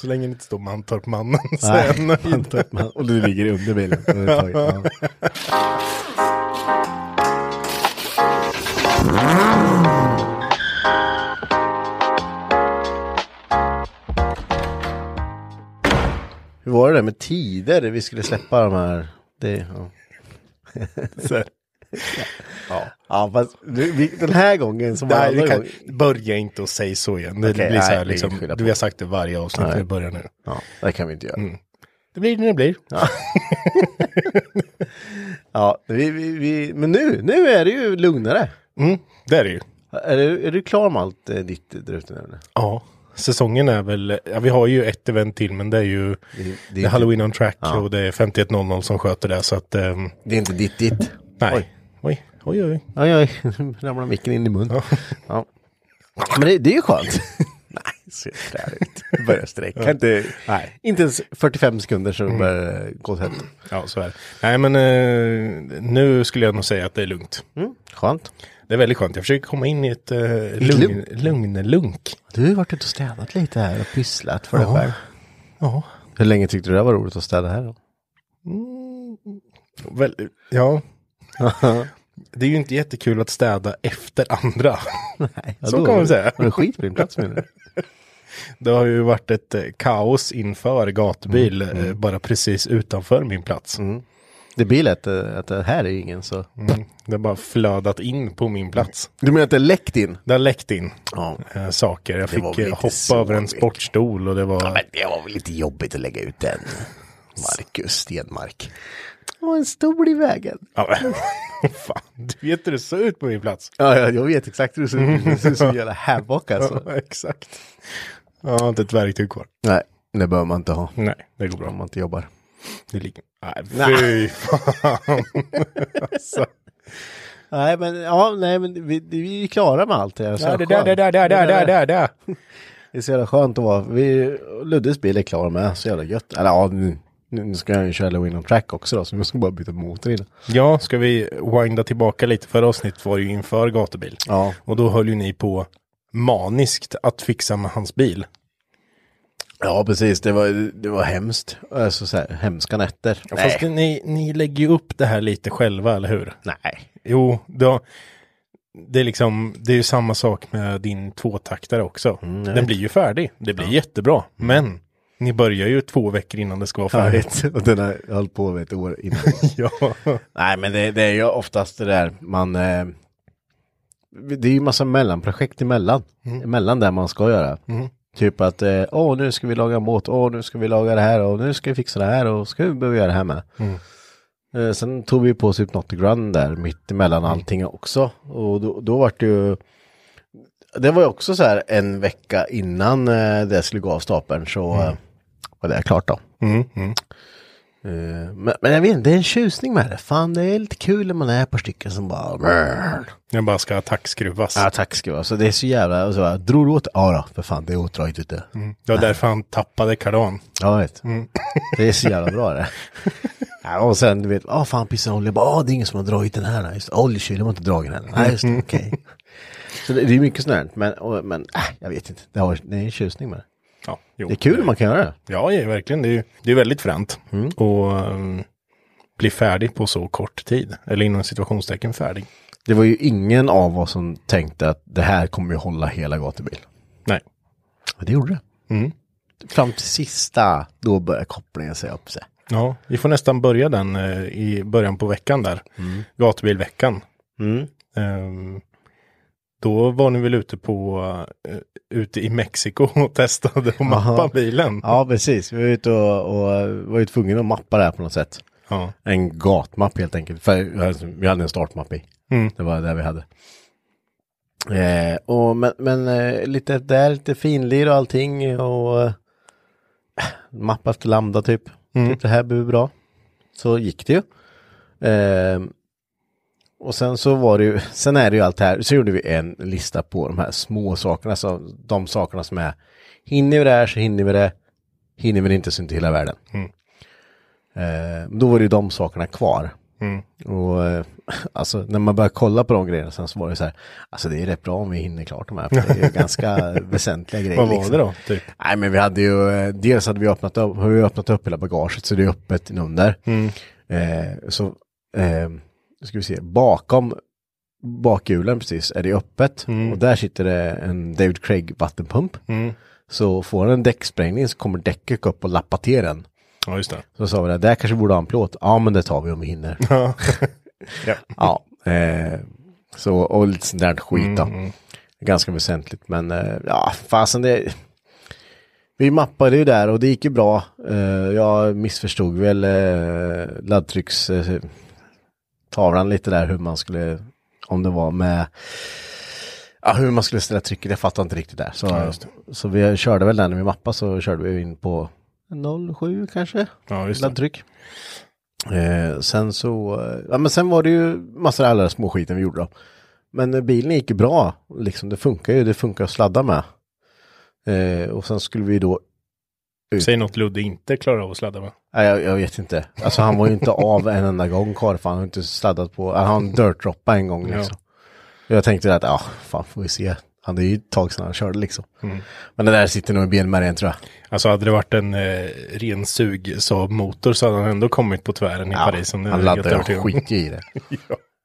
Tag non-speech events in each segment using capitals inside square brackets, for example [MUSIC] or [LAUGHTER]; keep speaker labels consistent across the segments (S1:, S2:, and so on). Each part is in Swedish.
S1: Så länge det inte står Mantorp-mannen så är jag
S2: [LAUGHS] Nej,
S1: nöjd.
S2: Mantorp man. Och du ligger under bilen. överhuvudtaget. Ja. Hur var det där med tider vi skulle släppa de här? Det, ja.
S1: [LAUGHS] Så här,
S2: ja, fast du, vi, den här gången som
S1: Nej,
S2: varje
S1: vi
S2: gång.
S1: kan, börja inte och säg så igen. Det
S2: Okej,
S1: blir så
S2: nej,
S1: här
S2: vi
S1: liksom,
S2: skyller på.
S1: du vi har sagt det varje avsnitt
S2: Nej.
S1: när vi börjar nu.
S2: Ja, det kan vi inte göra.
S1: Mm. Det blir det det blir.
S2: Ja, vi, vi, vi, men nu, nu är det ju lugnare.
S1: Mm, det är det ju.
S2: Är du, är du klar med allt eh, ditt där ute nu? eller?
S1: Ja, säsongen är väl, ja, vi har ju ett event till men det är ju det,
S2: det är
S1: är typ-
S2: inte-
S1: Halloween on track och det är 5100 som sköter det så att ehm,
S2: Det är inte ditt ditt.
S1: nej.
S2: Oj.
S1: Oj. Oj, oj, oj.
S2: Oj, oj, nu [LAUGHS] ramlar micken in i munnen. Ja. Men det, det är ju skönt. [LAUGHS] Nej, ser trär ut. Det börjar sträcka. Mm. Inte,
S1: Nej.
S2: inte ens 45 sekunder så börjar det gå åt helvete.
S1: Ja, så är det. Nej, men eh, nu skulle jag nog säga att det är lugnt.
S2: Mm. Skönt.
S1: Det är väldigt skönt. Jag försöker komma in i Mm. ett eh, lugn,
S2: lugn.
S1: lugnelunk.
S2: Du har ju varit ute och städat lite här och pysslat för dig
S1: Ja.
S2: själv.
S1: Ja.
S2: Hur länge tyckte du det var roligt att städa här då?
S1: Väl, [LAUGHS] ja. det är ju inte jättekul att städa efter andra.
S2: Nej,
S1: så kan man säga.
S2: Var det skitfin plats [LAUGHS] menar du?
S1: Det har ju varit ett eh, kaos inför gatbil, eh, bara precis utanför min plats.
S2: Det blir lätt eh, att det här är ju ingen så.
S1: Mm. Det har bara flödat in på min plats.
S2: Du menar att det läckt in?
S1: Det har läckt in
S2: Ja.
S1: eh, saker. Jag
S2: var
S1: fick
S2: väl
S1: eh,
S2: inte
S1: hoppa
S2: så
S1: över en
S2: mycket.
S1: sportstol och det var...
S2: Men det var väl lite jobbigt att lägga ut den. Marcus Stenmark. Och en stol i vägen.
S1: Ja, men- [LAUGHS] Fan, du vet hur det såg ut på min plats.
S2: [LAUGHS] Ja, ja jag vet exakt hur det ser ut. Det ser ut som en jävla havoc alltså.
S1: Ja, [LAUGHS] exakt. Jag har inte ett verktyg kvar.
S2: [LAUGHS] Nej, det behöver man inte ha.
S1: Nej, det går
S2: Om
S1: bra.
S2: man inte jobbar.
S1: Det ligger... Nej, fy fan. alltså.
S2: Nej, men, ja, nej, men vi, vi är klara med allt det här. Så
S1: Ja,
S2: jävla
S1: det där, det
S2: skönt.
S1: där, där, där, där, där, där.
S2: Det är så jävla skönt att vara. Vi, Luddes bil är klar med. Så jävla gött. Eller ja, nu, nu ska jag ju köra Halloween on track också då. Så vi ska bara byta motor innan.
S1: Ja, ska vi winda tillbaka lite? Förra avsnitt var ju inför gatubil.
S2: Ja.
S1: Och då höll ju ni på maniskt att fixa med hans bil.
S2: Ja, precis. Det var, det var hemskt. Alltså så här, hemska nätter.
S1: Fast ni, ni lägger ju upp det här lite själva, eller hur?
S2: Nej.
S1: Jo, då, det, är liksom, det är ju samma sak med din tvåtaktare också.
S2: Mm,
S1: Den blir ju färdig. Det blir jättebra. Men ni börjar ju två veckor innan det ska vara
S2: Jag [LAUGHS]
S1: färdigt.
S2: vet. Och den har hållit på i ett år innan.
S1: Ja,
S2: [LAUGHS] Nej, men det, det är ju oftast det där man... Eh, det är ju massa mellanprojekt emellan. Emellan där man ska göra. Typ att, eh, åh nu Mm. ska vi laga en båt, åh nu ska vi laga det här och nu ska vi fixa det här och ska vi behöva göra det här med. Eh, sen tog vi på oss Hypnotic Run där mitt emellan allting också. Och då, då var det ju... Det var ju också så här en vecka innan eh, det skulle gå av stapeln så eh, var det klart då. Eh, men, men jag vet inte, det är en tjusning med det. Fan, det är lite kul när man är på stycken som bara... Brr.
S1: Jag bara ska attackskruvas.
S2: Ja, tack ska du ha. Så det är så jävla... Och så bara, drog du åt? Ja då, för fan, det är åtdraget ute.
S1: Det var därför han tappade kardan.
S2: Ja, jag vet. Det är så jävla bra det. Ja, och sen du vet, ah fan pissar olja, bara, ah det är ingen som har dragit den här. Nej, Just det. oljekylen har inte dragit den. Nej, just det, okej. Så det, det är mycket sånt här, men, och, men äh, jag vet inte. Det, har, det är en tjusning med det.
S1: Ja, jo.
S2: Det är kul om man kan göra det.
S1: Ja, ja verkligen. Det är, ju- det är väldigt fränt.
S2: Mm.
S1: Och ehm, bli färdig på så kort tid. Eller inom situationstecken färdig.
S2: Det var ju ingen av oss som tänkte att det här kommer ju hålla hela gatubil.
S1: Nej.
S2: Men det gjorde det. Fram till sista, då började kopplingen säga upp sig.
S1: Ja, vi får nästan börja den eh, i början på veckan där.
S2: Mm.
S1: Gatubilveckan. Ehm, då var ni väl ute på, eh, ute i Mexiko och [LAUGHS] testade att mappa
S2: Aha.
S1: bilen.
S2: Ja, precis. Vi var ute och, och var ju tvungna att mappa det här på något sätt.
S1: Ja.
S2: En gatmapp helt enkelt. För alltså, vi hade en startmapp i. Det var det vi hade. Eh, och, men men eh, lite där, lite finlir och allting. Och eh, mapp efter lambda typ. typ. Det här blir bra. Så gick det ju. Eh, och sen så var det ju, sen är det ju allt det här, så gjorde vi en lista på de här små sakerna, så de sakerna som är, hinner vi det här så hinner vi det, hinner vi det inte så inte hela världen.
S1: Mm.
S2: Eh, då var det ju de sakerna kvar.
S1: Mm.
S2: Och eh, alltså när man börjar kolla på de grejerna sen så var det så här, alltså det är rätt bra om vi hinner klart de här, för det
S1: [LAUGHS]
S2: är ju ganska väsentliga grejer.
S1: Vad var
S2: liksom.
S1: det då? Typ?
S2: Nej men vi hade ju, eh, dels hade vi öppnat upp, har vi öppnat upp hela bagaget så det är öppet inunder.
S1: Mm.
S2: Eh, så, eh, nu ska vi se, bakom bakhjulen precis är det öppet och där sitter det en David Craig vattenpump. Så får den en däcksprängning så kommer däcket upp och lappa till den.
S1: Ja, just det. [LAUGHS]
S2: Så sa vi det, där kanske borde ha en plåt. Ja men det tar vi om vi hinner.
S1: Ja.
S2: Ja, eh, så, och lite sånt där skit då. Ganska väsentligt, men eh, ja, fasen det... Vi mappade ju där och det gick ju bra. Eh, jag missförstod väl eh, laddtrycks... Eh, tavlan lite där hur man skulle... Om det var med... Ja, hur man skulle ställa trycket, jag fattar inte riktigt där. Så, så vi körde väl där när vi mappade så körde vi in på 07 kanske?
S1: Ja, just det.
S2: laddtryck. Eh, sen så, eh, ja men sen var det ju massor av alla de små skiten vi gjorde då. Men eh, bilen gick ju bra, liksom det funkar ju, det funkar att sladda med. Eh, och sen skulle vi då,
S1: Säg något Ludde inte klarar av att sladda med.
S2: nej jag, jag vet inte, alltså han var ju inte av en enda gång kvar för han har inte sladdat på, eh, han har en dirt-droppa en gång liksom. Jag tänkte att, ja fan får vi se, han det är ju ett tag sedan han körde liksom.
S1: Mm.
S2: Men det där sitter nog i benmärgen tror jag.
S1: Alltså hade det varit en eh, ren sug Saab motor så hade han ändå kommit på tvären i Paris. om det
S2: han
S1: är
S2: laddar
S1: helt
S2: ju
S1: övertygad om. [LAUGHS]
S2: skit i det.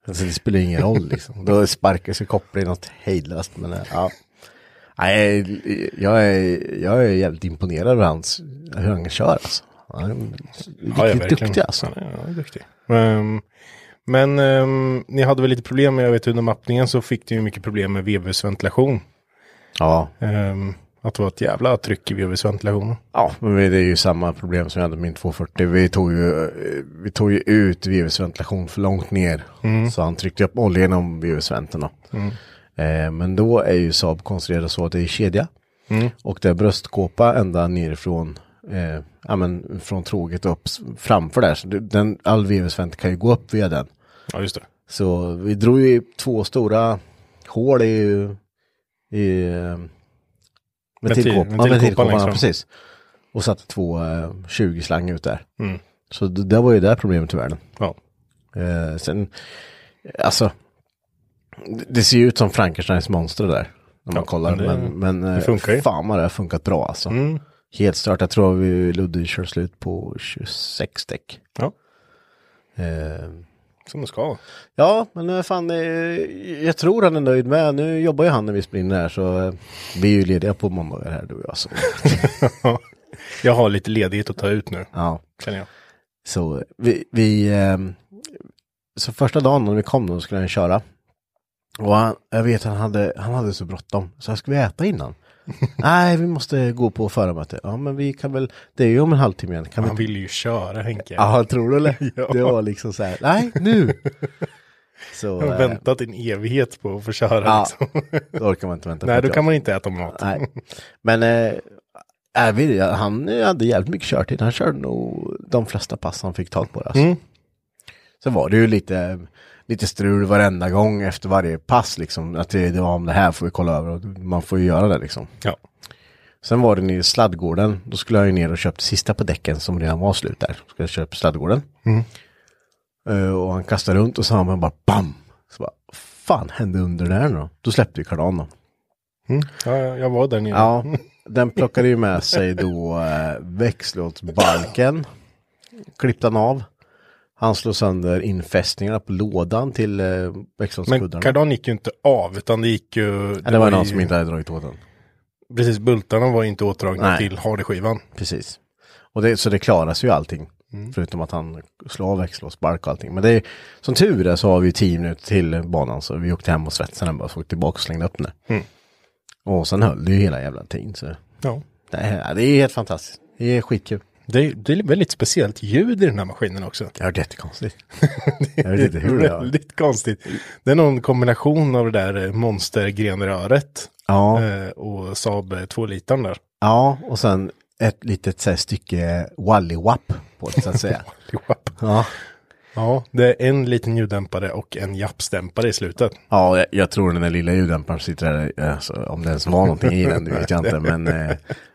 S2: alltså, det spelar ingen roll liksom. Då sparkas ju kopplingen något hejdlöst. Men eh, ja. Nej, jag är, jag är jävligt imponerad över hans, hur han kör alltså. Han är
S1: Ja, ja,
S2: riktigt
S1: verkligen.
S2: duktig alltså.
S1: Ja, ja, han är duktig. Ehm, men ehm, ni hade väl lite problem med, jag vet under mappningen så fick ni ju mycket problem med VVS-ventilation.
S2: Ja.
S1: Ehm, att det var ett jävla tryck i VVS-ventilationen.
S2: ja, men det är ju samma problem som jag hade med min 240. Vi tog ju, eh, vi tog ju ut virusventilation för långt ner. Så han tryckte upp olja genom virusventen. Mm. Eh, men då är ju Saab konstruerad så att det är kedja. Och det är bröstkåpa ända nerifrån, eh, ja men från tråget upp s- framför där. Så det- den, all virusvent kan ju gå upp via den.
S1: Ja, just det.
S2: Så vi drog ju två stora hål i, i eh, ventilkåp- ja,
S1: ventilkåpan
S2: ventilkåpan.
S1: längst
S2: Ja,
S1: fram.
S2: precis. Och satte två eh, 20-slang ut där.
S1: Mm.
S2: Så det, det var ju där problemet i världen.
S1: Ja.
S2: Eh, sen, alltså, det, det ser ju ut som Frankensteins monster där. När man kollar.
S1: det-
S2: men men eh,
S1: funkar ju. Mm.
S2: fan vad det har funkat bra alltså. Helt stört. Jag tror vi Ludde kör slut på 26 däck.
S1: ja,
S2: Eh,
S1: som det ska.
S2: Ja, men eh, fan, eh, jag tror han är nöjd med. Nu jobbar ju han när vi springer här så eh, vi är ju lediga på måndagar här du och jag. Så,
S1: [LAUGHS] jag har lite ledighet att ta ut nu,
S2: ja.
S1: känner jag.
S2: så eh, vi, vi eh, så första dagen när vi kom då
S1: [LAUGHS]
S2: skulle han köra. Och han, jag vet han hade, han hade så bråttom så han skulle äta innan. Nej, vi måste gå på förarmöte. Ja, men vi kan väl, det är ju om en halvtimme igen. Kan vi
S1: Han
S2: inte...
S1: ville ju köra Henke.
S2: Ja, tror du eller?
S1: [LAUGHS] Ja.
S2: Det var liksom så här, nej,
S1: [LAUGHS]
S2: nu! Så,
S1: Jag har
S2: eh,
S1: väntat en evighet på att få köra
S2: Ja.
S1: liksom.
S2: då orkar man inte vänta.
S1: [LAUGHS]
S2: på
S1: Nej,
S2: ett
S1: då
S2: jobb.
S1: kan man inte äta mat.
S2: Nej. Men eh, jag vet, inte, han eh, hade jävligt mycket körtid. Han körde nog de flesta pass han fick tag på. det, Alltså. Så var det ju lite, lite strul varenda gång efter varje pass. Liksom, att det, det var om det här får vi kolla över. Och man får ju göra det liksom.
S1: Ja.
S2: Sen var den i sladdgården. Då skulle jag ju ner och köpte sista på däcken som redan var slut där. Skulle jag köpa sladdgården. Eh, och han kastade runt och så man bara BAM! Så bara, fan hände under där nu då? Då släppte ju kardan då.
S1: Ja, ja, jag var där nere.
S2: Ja, den plockade ju med sig då eh, växellådsbalken. Klippte han av. Han slog sönder infästningarna på lådan till eh,
S1: Men
S2: växellådskuddarna.
S1: kardan gick ju inte av, utan det gick ju...
S2: ja, det var ju någon
S1: ju-
S2: som inte hade dragit åt den.
S1: Precis, bultarna var ju inte åtdragna
S2: Nej.
S1: till hardeskivan.
S2: Precis. Och det, så det klaras ju allting. Förutom att han slår av växellådsbalk och allting. Men det är, som tur är så har vi ju tio minuter till banan. Så vi åkte hem och svetsade den bara. Så åkte tillbaka och slängde upp den. där. Och sen höll det ju hela jävla tiden. Så
S1: Ja.
S2: det, här, det är helt fantastiskt. Det är skitkul.
S1: Det, är- det är väldigt speciellt ljud i den här maskinen också.
S2: Ja, det är jättekonstigt. [LAUGHS] Jag vet inte hur det är.
S1: Väldigt konstigt. Det är någon kombination av det där eh, monstergrenröret
S2: Ja.
S1: eh, och Saab 2 litern där.
S2: Ja, och sen ett litet så här, stycke Wally-Wapp på det så att [LAUGHS] säga.
S1: Japp.
S2: ja.
S1: Ja, det är en liten ljuddämpare och en japsdämpare i slutet.
S2: ja, jag- jag tror den där lilla ljuddämparen sitter där, eh, så om det ens var någonting i den, det vet jag inte. Men eh,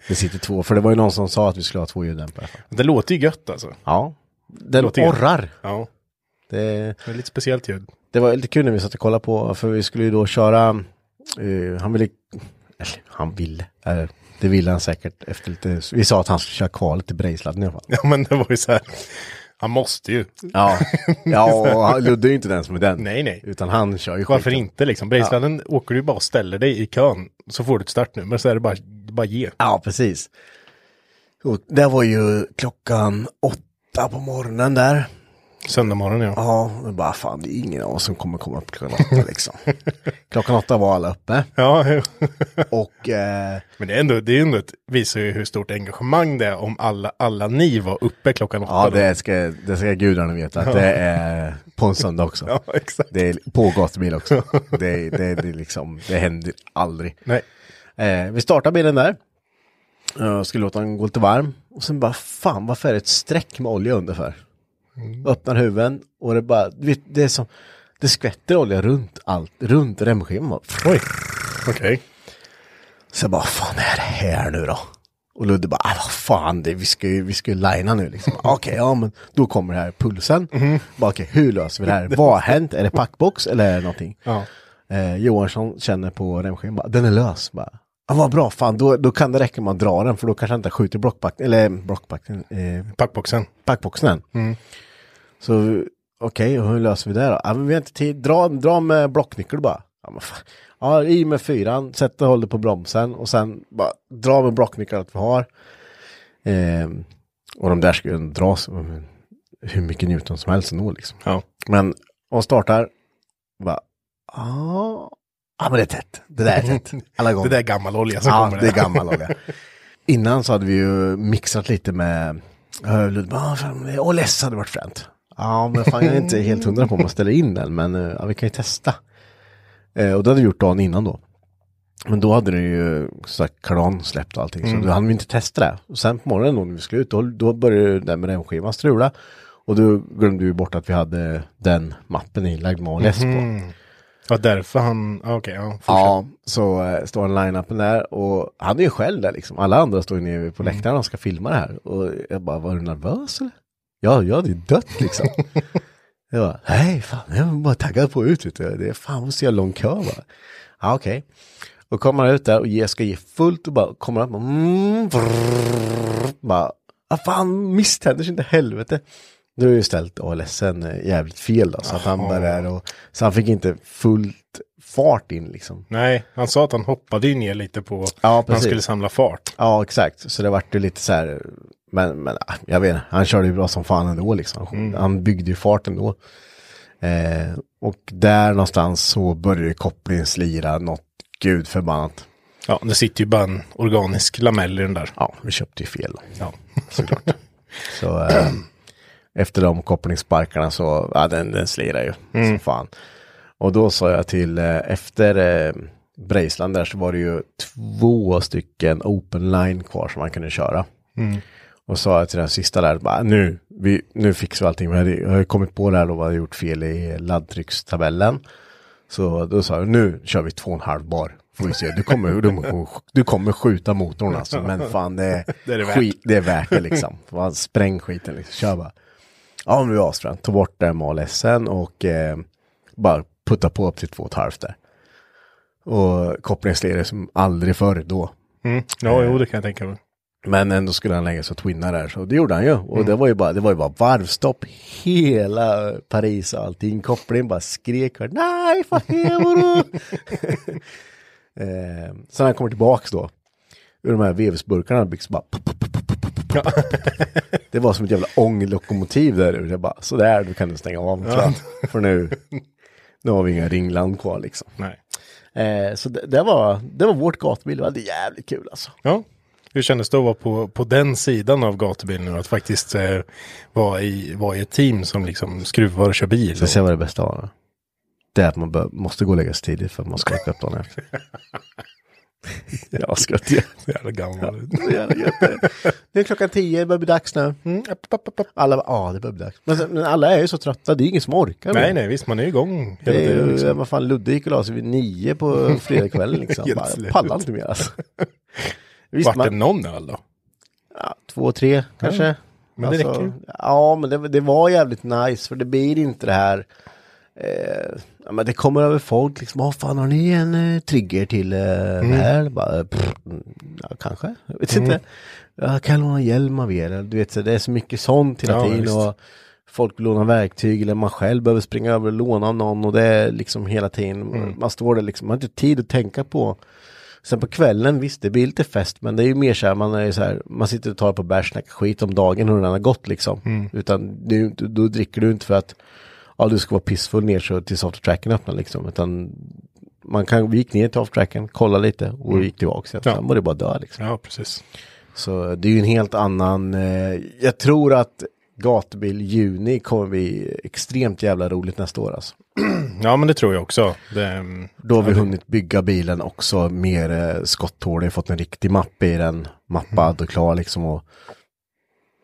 S2: det sitter två, för det var ju någon som sa att vi skulle ha två ljuddämpare.
S1: Det låter ju gött alltså.
S2: Ja, den
S1: Låter gött.
S2: orrar.
S1: Ja,
S2: Det,
S1: det är lite speciellt ljud. [LAUGHS]
S2: det var lite kul när vi satt och kollade på, för vi skulle ju då köra, eh, han ville, eller han ville, eh, det ville han säkert efter lite, vi sa att han skulle köra kvalet till Brejsladden i alla fall.
S1: Ja, men det var ju så här. Han måste ju. [LAUGHS]
S2: Ja, ja och han- Ludde är ju inte den som är den.
S1: Nej, nej.
S2: Utan han kör ju
S1: Varför
S2: skiten.
S1: inte liksom? Brejsladden åker du bara och ställer dig i kön. Så får du ett startnummer så är det bara, bara ge.
S2: Ja, precis. Och det var ju klockan åtta på morgonen där.
S1: Söndag morgon ja.
S2: Ja, och bara fan det är ingen av oss som kommer komma upp klockan åtta
S1: [LAUGHS]
S2: liksom. klockan åtta var alla uppe.
S1: Ja, [LAUGHS] jo.
S2: Och eh,
S1: men det är ändå, det är ändå ett, visar ju hur stort engagemang det är om alla, alla ni var uppe klockan åtta.
S2: ja,
S1: då.
S2: det ska, det ska gudarna veta att det är på en söndag också.
S1: [LAUGHS] Ja, exakt.
S2: Det är på
S1: [LAUGHS]
S2: gatubil också. Det, det, det, är liksom, det händer aldrig.
S1: Nej.
S2: Eh, vi startar bilen där. Eh, skulle låta den gå lite varm. Och sen bara, fan varför är det ett streck med olja under för? Öppnar huven och det bara, du vet, det är som, det skvätter olja runt allt, runt remskivan.
S1: Oj, okej.
S2: Så jag bara, fan är det här nu då? Och Ludde bara, ah, vad fan, det, vi ska ju vi ska ju linea nu liksom. [LAUGHS] Okej, ja men då kommer det här pulsen.
S1: Mhm.
S2: Bara, okej, hur löser vi det här?
S1: [LAUGHS]
S2: Vad har hänt? Är det packbox eller är det någonting?
S1: Ja.
S2: Eh, Johansson känner på remskivan, bara, den är lös. Bara, ah, vad bra, fan då, då kan det räcka med att dra den för då kanske han inte skjuter blockbacken, eller blockbacken, eh,
S1: Packboxen.
S2: packboxen än. Så okej, och hur löser vi det då? Ja, men vi har inte tid, dra, dra med blocknyckel bara. Ja, men fan. ja, i med fyran, sätt och håll dig på bromsen och sen bara dra med blocknyckeln allt vi har. Ehm, och de där ska ju dras men hur mycket Newton som helst ändå liksom.
S1: Ja.
S2: Men och startar, bara, ja, ja men det är tätt, det där är
S1: [LAUGHS]
S2: tätt, alla gånger.
S1: Det där är gammal olja som
S2: Ja,
S1: kommer.
S2: det är
S1: där. [LAUGHS]
S2: gammal olja. Innan så hade vi ju mixat lite med eh, Ludvig. bara, "Ah, fan, Åh, less hade varit fränt. Ja, men fan jag är inte helt hundra på om man ställer in den, men eh, ja, vi kan ju testa. Eh, Och det hade vi gjort dagen innan då. Men då hade den ju så här, kardan släppt och allting,
S1: Mm.
S2: så då hann vi inte testa det. Och sen på morgonen då när vi skulle ut, då, då började ju den med den skivan strula. Och då glömde vi bort att vi hade den mappen inlagd med ALS
S1: Mhm.
S2: på.
S1: Ja, därför han, ja, okej, ja. fortsätt.
S2: Ja, så eh, står han i line-upen där och han är ju själv där liksom. Alla andra står ju nere på läktaren och ska filma det här. Och jag bara, var du nervös eller? Ja, jag hade ju dött liksom. jag bara, nej fan, jag var bara taggad på att ut. Vet du. Det är fan vad så jävla lång kö bara. Ja, okej. Och kommer han ut där och ger, ska ge fullt och bara kommer han, mm, vrrr, bara, ah, fan misständer sig inte helvete. Nu har ju ställt ALSen eh, jävligt fel då, så att han bara är och, så han fick inte fullt fart in liksom.
S1: Nej, han sa att han hoppade ju ner lite på
S2: Ja,
S1: när han
S2: precis.
S1: skulle samla fart.
S2: Ja, exakt. Så det vart ju lite så här, men, men ah, jag vet inte, han körde ju bra som fan ändå liksom. Han byggde ju fart ändå. Eh, och där någonstans så började kopplingen slira något gudförbannat.
S1: Ja, det sitter ju bara en organisk lamell i den där.
S2: Ja, vi köpte ju fel.
S1: Ja.
S2: [LAUGHS] såklart. så eh, efter de kopplingssparkarna så, ja den, den slirar ju som fan. Och då sa jag till, eh, efter eh, Breisland där så var det ju två stycken open line kvar som man kunde köra. Och sa jag till den sista där, bara, nu, vi, nu fixar vi allting. Vi hade, jag hade kommit på det här då, vi hade gjort fel i laddtryckstabellen. Så då sa jag, nu kör vi två och en halv bar. Får vi se, du kommer, du, du kommer skjuta motorn alltså. Men fan det är,
S1: Det är det värt.
S2: skit, det är värt det liksom. Fan, spräng skiten liksom, kör bara. Ja, men det var asfränt. Ta bort den malsen och eh, bara putta på upp till två och ett halvt där. Och kopplingen slirade som aldrig förr då.
S1: Mm. Ja,
S2: Eh.
S1: jo, det kan jag tänka mig.
S2: Men ändå skulle han lägga sig och twinna där, så det gjorde han ju. Och det, var ju bara, det var ju bara varvstopp hela Paris och allting. Kopplingen bara skrek nej, vad [LAUGHS] hever eh, Så när han kommer tillbaks då, ur de här vevsburkarna han byggt, så bara... det var som ett jävla ånglokomotiv där ur. Jag bara, sådär, du kan du stänga av ja. För nu, nu har vi inga ringland kvar liksom.
S1: Nej.
S2: Eh, så det, det, var, det var vårt gatubil, det var jävligt kul alltså.
S1: Ja. Hur kändes det att vara på, på den sidan av gatubilen nu? Att faktiskt eh, vara, i, vara i ett team som liksom skruvar och kör bil?
S2: Ska jag säga vad det bästa var? då? Det är att man bör, måste gå och lägga sig tidigt för att man ska åka upp dagen efter. Jag ska inte
S1: Jävla gammal.
S2: Nu är klockan tio, det börjar bli dags nu.
S1: Mm,
S2: Alla bara, ja det börjar bli dags. Men, sen- men alla är ju så trötta, det är ingen som orkar.
S1: Nej, nej, visst, man är ju igång hela
S2: Det är
S1: tiden.
S2: ju,
S1: Liksom.
S2: vad fan, Ludde gick och la sig vid nio på [LAUGHS] fredagskvällen liksom.
S1: Helt
S2: Bara,
S1: slut.
S2: jag pallar inte mer [LAUGHS] alltså. Visst,
S1: Vart det
S2: man,
S1: någon öl då?
S2: ja, två, tre kanske. Alltså,
S1: men det räcker ju.
S2: Ja, men det, det var jävligt nice för det blir inte det här eh, Ja, men det kommer över folk liksom, vad fan har ni en eh, trigger till eh,
S1: Mm.
S2: det här? Bara, pff, mm, ja, kanske, jag vet inte. Ja, kan jag låna hjälm av er? Du vet, så det är så mycket sånt hela
S1: Ja,
S2: tiden.
S1: visst.
S2: Och folk lånar verktyg eller man själv behöver springa över och låna av någon och det är liksom hela tiden,
S1: Mm.
S2: man står där liksom, man har inte tid att tänka på. Sen på kvällen, visst det blir lite fest men det är ju mer så här, man, är så här, man sitter och tar på bärs, snackar skit om dagen hur den har gått liksom.
S1: Mm.
S2: Utan det är ju inte- då dricker du inte för att ja, du ska vara pissfull ner så tills aftertracken öppnar liksom. Utan man kan, vi gick ner till aftertracken, kollade lite och gick tillbaka. Sen,
S1: Mm. Ja.
S2: sen var det bara dö liksom.
S1: Ja, precis.
S2: Så det är ju en helt annan, eh, jag tror att gatubil juni kommer bli extremt jävla roligt nästa år alltså.
S1: Ja, men det tror jag också. Det, mm,
S2: Då har vi hunnit bygga bilen också mer eh, skotthålig, fått en riktig mapp i den, mappad och klar liksom. Och,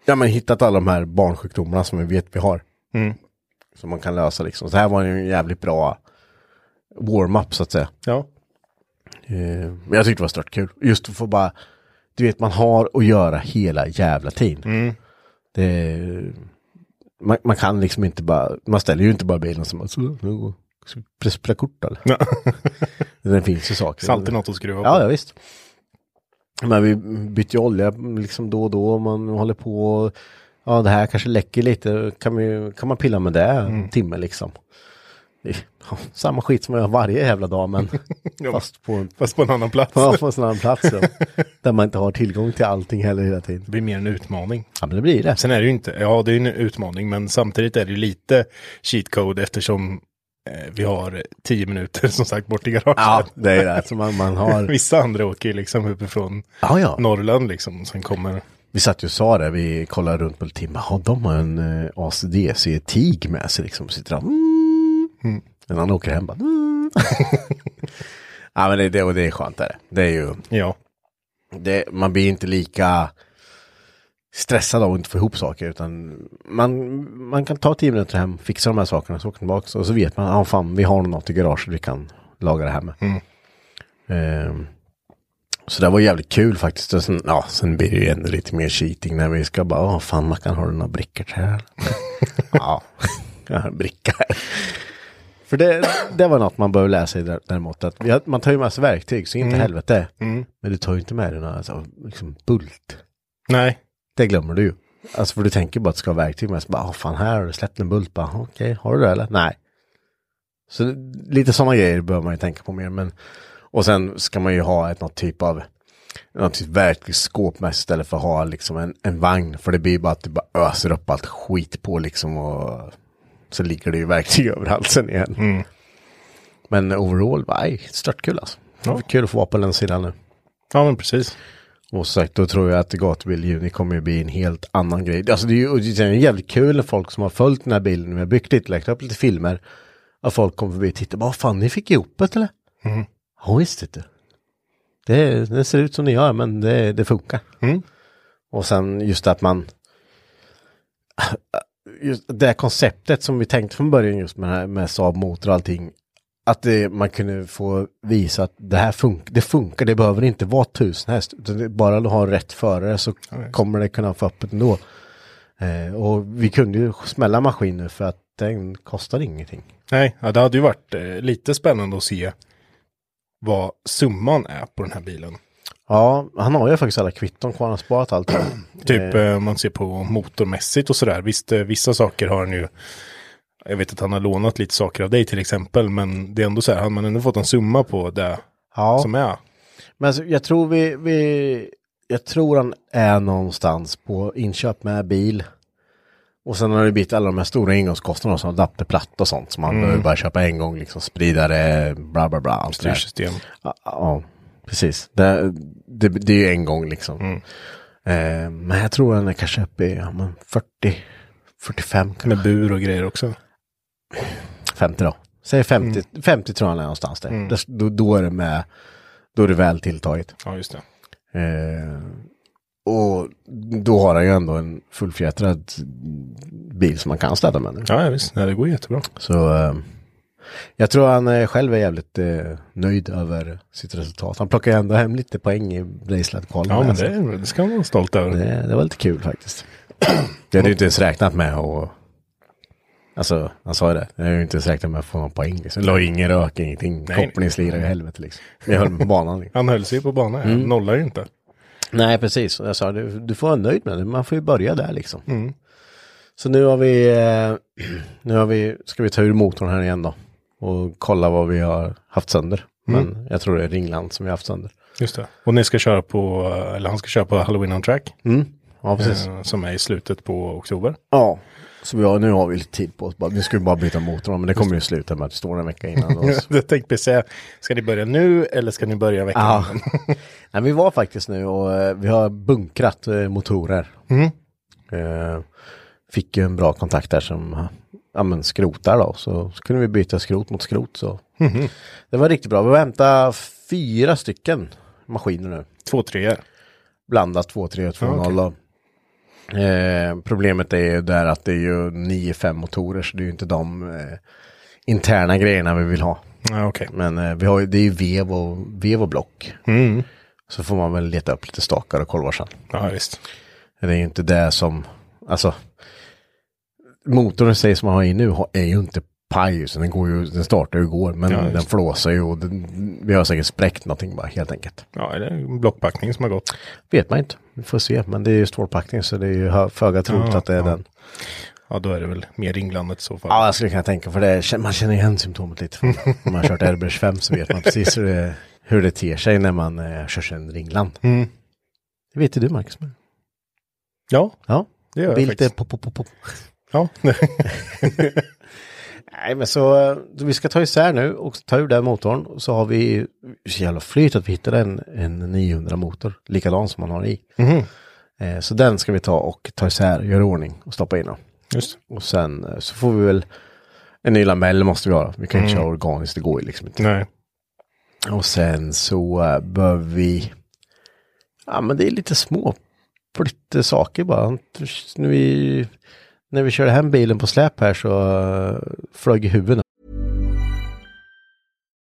S2: ja men hittat alla de här barnsjukdomarna som vi vet vi har.
S1: Mm.
S2: Som man kan lösa liksom. Så här var ju en jävligt bra warm-up så att säga.
S1: ja.
S2: Eh, Men jag tyckte det var stört kul. Just att få bara, du vet man har att göra hela jävla tiden. Det, man, man kan liksom inte bara, man ställer ju inte bara bilen som, så, nu går, ska vi spela kort eller?
S1: Ja.
S2: [LAUGHS] Det finns ju saker.
S1: Så alltid något att skruva på.
S2: Ja, ja visst. Men vi byter ju olja liksom då och då. och Man håller på och ja, det här kanske läcker lite. Kan, vi, kan man pilla med det en timme liksom? Det är- [LAUGHS] ja, Samma skit som jag gör varje jävla dag, men fast på en,
S1: Fast på en annan plats.
S2: ja, på en sån här plats då, där man inte har tillgång till allting heller hela tiden.
S1: [LAUGHS] Det blir mer en utmaning.
S2: Ja, men det blir det.
S1: Sen är det ju inte, ja det är ju en utmaning, men samtidigt är det ju lite cheat code eftersom eh, vi har tio minuter [LAUGHS] som sagt bort i garaget.
S2: Ja, det är det. Så man, man har...
S1: [LAUGHS] Vissa andra åker ju liksom uppifrån
S2: Ja, ja.
S1: Norrland liksom, sen kommer...
S2: Vi satt ju och sa det, vi kollade runt på en timme. Ja, de har en eh, ACDC-tig med sig liksom. Sitter där. Mm. En annan åker hem bara. [LAUGHS] Mm. ja, men det, det, och det är skönt är det. Det är ju,
S1: Ja,
S2: det, man blir inte lika stressad av att inte få ihop saker utan man, man kan ta tio minuter hem, fixa de här sakerna, så åker tillbaka och så vet man, ja ah, fan vi har nog något i garaget vi kan laga det här med. Ehm, så det var jävligt kul faktiskt. Och sen, ja, sen blir det ju ändå lite mer cheating när vi ska bara, ja fan Mackan har du några brickor till här? ja, [LAUGHS] jag har en bricka här. För det, det var något man behöver lära sig där- däremot. Att vi har- man tar ju med sig verktyg, så inte helvete. Men du tar ju inte med dig några alltså, liksom bult.
S1: nej,
S2: Det glömmer du ju. Alltså för du tänker bara att du ska ha verktyg med dig. Så bara, ah, fan här har du släppt en bult. Bara, "Ah, Okej, har du det eller? Nej. Så lite sådana grejer behöver man ju tänka på mer. Men, och sen ska man ju ha ett något typ av något typ verktygsskåp med sig istället för att ha liksom en, en vagn. För det blir bara att du bara öser upp allt skit på liksom och så ligger det ju verktyg [LAUGHS] överallt sen igen. Men overall, nej, störtkul alltså. Det var Kul att få vara på den sidan nu.
S1: Ja, men precis.
S2: Och som sagt, då tror jag att gatubil i juni kommer ju bli en helt annan grej. Alltså det är ju och det är ju jävligt kul när folk som har följt den här bilden, vi har byggt lite, lagt upp lite filmer, att folk kommer förbi och tittar, vad fan, ni fick ihop det eller?
S1: Mm.
S2: Ja, visst inte. Det, det ser ut som ni gör, men det, det funkar.
S1: Mm.
S2: Och sen just att man... Just det här konceptet som vi tänkte från början just med, den här- med Saab motor och allting. Att det, man kunde få visa att det här funkar, det funkar, det behöver inte vara tusen häst. Utan det, bara du har rätt förare så kommer det kunna få öppet ändå. Eh, och vi kunde ju smälla maskiner för att den kostar ingenting.
S1: Nej, ja, det hade ju varit eh, lite spännande att se vad summan är på den här bilen.
S2: Ja, han har ju faktiskt alla kvitton kvar, han har sparat allt. [CLEARS THROAT]
S1: Typ eh, om man ser på motormässigt och sådär. Visst, eh, vissa saker har han ju. Jag vet att han har lånat lite saker av dig till exempel, men det är ändå så här, hade man ändå fått en summa på det
S2: ja.
S1: som är.
S2: Men alltså, jag tror vi, vi, jag tror han är någonstans på inköp med bil. Och sen har det blivit alla de här stora ingångskostnaderna som adapterplatta och sånt som man behöver bara köpa en gång, liksom spridare, bla bla bla. Allt det där.
S1: Styrsystem.
S2: Ja, ja, precis. Det, det, det är ju en gång liksom. Eh, men jag tror han är kanske uppe i ja, men 40, 45 kanske.
S1: Med bur och grejer också.
S2: 50 då. Säg 50, 50 tror jag han är någonstans där. där då, då är det med, då är det väl tilltaget.
S1: Ja, just det.
S2: Eh, och då har han ju ändå en fullfjädrad bil som man kan städa med nu.
S1: Ja, ja visst. Nej, det går jättebra.
S2: Så eh, jag tror han eh, själv är jävligt eh, nöjd över sitt resultat. Han plockar ju ändå hem lite poäng i Bracelet-kvalen.
S1: Ja, men
S2: Alltså,
S1: det, det ska man vara stolt över.
S2: det, det var lite kul faktiskt. Jag hade ju inte ens räknat med att... Alltså, han sa ju det. Jag hade ju inte ens räknat med att få någon poäng. Liksom. La ingen rök, ingenting.
S1: Nej.
S2: Kopplingslira i helvete liksom.
S1: [LAUGHS]
S2: Jag höll mig på banan. Liksom.
S1: Han höll sig ju på banan, mm. nollar ju inte.
S2: Nej, precis. Jag sa du, du får vara nöjd med det. Man får ju börja där liksom. Så nu har vi, eh, [CLEARS THROAT] nu har vi, ska vi ta ur motorn här igen då. Och kolla vad vi har haft sönder. Men jag tror det är Ringland som vi har haft sönder.
S1: Just det. Och ni ska köra på, eller han ska köra på Halloween on track.
S2: Ja, precis.
S1: eh, Som är i slutet på oktober. [LAUGHS]
S2: Ja. Så vi har, nu har vi lite tid på oss. Bara, nu ska vi bara byta motorn. Men det kommer ju sluta med att det står en vecka [LAUGHS] innan. Och så-
S1: Jag tänkte precis säga, ska ni börja nu eller ska ni börja veckan?
S2: Ja. Nej, vi var faktiskt nu och eh, vi har bunkrat eh, motorer. Eh, fick ju en bra kontakt där som eh, ja, men skrotar då. Så, så kunde vi byta skrot mot skrot. Så. Det var riktigt bra. Vi har hämtat fyra stycken maskiner nu.
S1: [LAUGHS] Två treor.
S2: Blandat 2-3 och 2-0. då. Eh, problemet är ju där att det är ju 9-5 motorer så det är ju inte de eh, interna grejerna vi vill ha.
S1: Ja, Ah, okej.
S2: Men eh, vi har ju, det är ju vev och, vev och block.
S1: Mm.
S2: Så får man väl leta upp lite stakar och kolvar sen.
S1: Ja, visst.
S2: Det är ju inte det som, alltså. Motorn i sig som man har i nu har- är ju inte paj, så den, går ju, den startar ju igår, men
S1: Ja, just
S2: den
S1: det.
S2: flåsar ju och den, vi har säkert spräckt någonting bara helt enkelt.
S1: Ja, eller en blockpackning som har gått.
S2: Vet man inte, vi får se, men det är ju stålpackning så det är ju hö- föga troligt
S1: Ja,
S2: att det är
S1: ja.
S2: den.
S1: Ja, då är det väl mer Ringlandet i så fall.
S2: Ja, jag skulle kunna tänka, för det är, man känner igen
S1: [LAUGHS]
S2: symptomet lite. Om man har kört RB 25 så vet man precis hur det, hur det ter sig när man eh, kör sig en ringland.
S1: Mm.
S2: Det vet ju du Marcus.
S1: Ja,
S2: Ja,
S1: det gör jag
S2: Bild är
S1: faktiskt.
S2: pop, pop, pop, pop.
S1: Ja. [LAUGHS]
S2: Nej, men så eh, vi ska ta isär nu och ta ur den motorn. Och Så har vi så jävla flyt att vi hittade en, en 900 motor, likadan som man har i. Eh, Så den ska vi ta och ta isär, göra i ordning och stoppa in den.
S1: Just
S2: Och sen eh, så får vi väl en ny lamell måste vi ha. Vi kan inte köra organiskt, det går ju liksom inte.
S1: Nej.
S2: Och sen så eh, behöver vi, ja men det är lite små lite saker bara. När vi, när vi körde hem bilen på släp här så eh, flög huvudet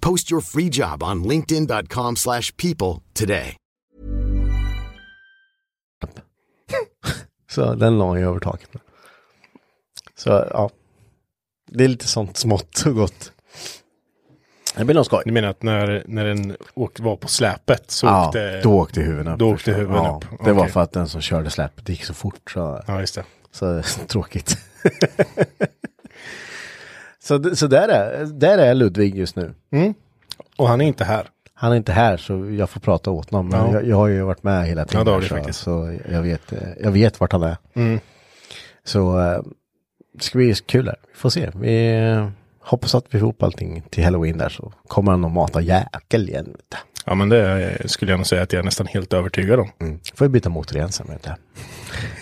S3: Post your free job on linkedin.com/people slash people today.
S2: Så den la jag över taket. med. Så ja, det är lite sånt smått och gott. Det blir nog skoj.
S1: Ni menar att när, när den åk, var på släpet så
S2: ja,
S1: åkte...
S2: då åkte huvudet upp.
S1: Ah, Då åkte
S2: förstås.
S1: huvudet
S2: ja,
S1: upp.
S2: Det var
S1: Okej.
S2: för att den som körde släpet det gick så fort. Så,
S1: Ja, just det.
S2: så [LAUGHS] tråkigt. så, d- så där, är, där är Ludvig just nu.
S1: Och han är inte här.
S2: Han är inte här så jag får prata åt honom. Men
S1: Ja.
S2: jag, jag har ju varit med hela tiden.
S1: Ja, det har
S2: här,
S1: du
S2: så,
S1: faktiskt. Mm.
S2: så jag vet, eh, jag vet vart han är. Så eh, det ska bli kul här. Vi får se. Vi eh, hoppas att vi får ihop allting till halloween där så kommer han och matar jäkel igen. Vet du.
S1: Ja, men det eh, skulle jag nog säga att jag är nästan helt övertygad om.
S2: Får vi byta motor igen sen vet du.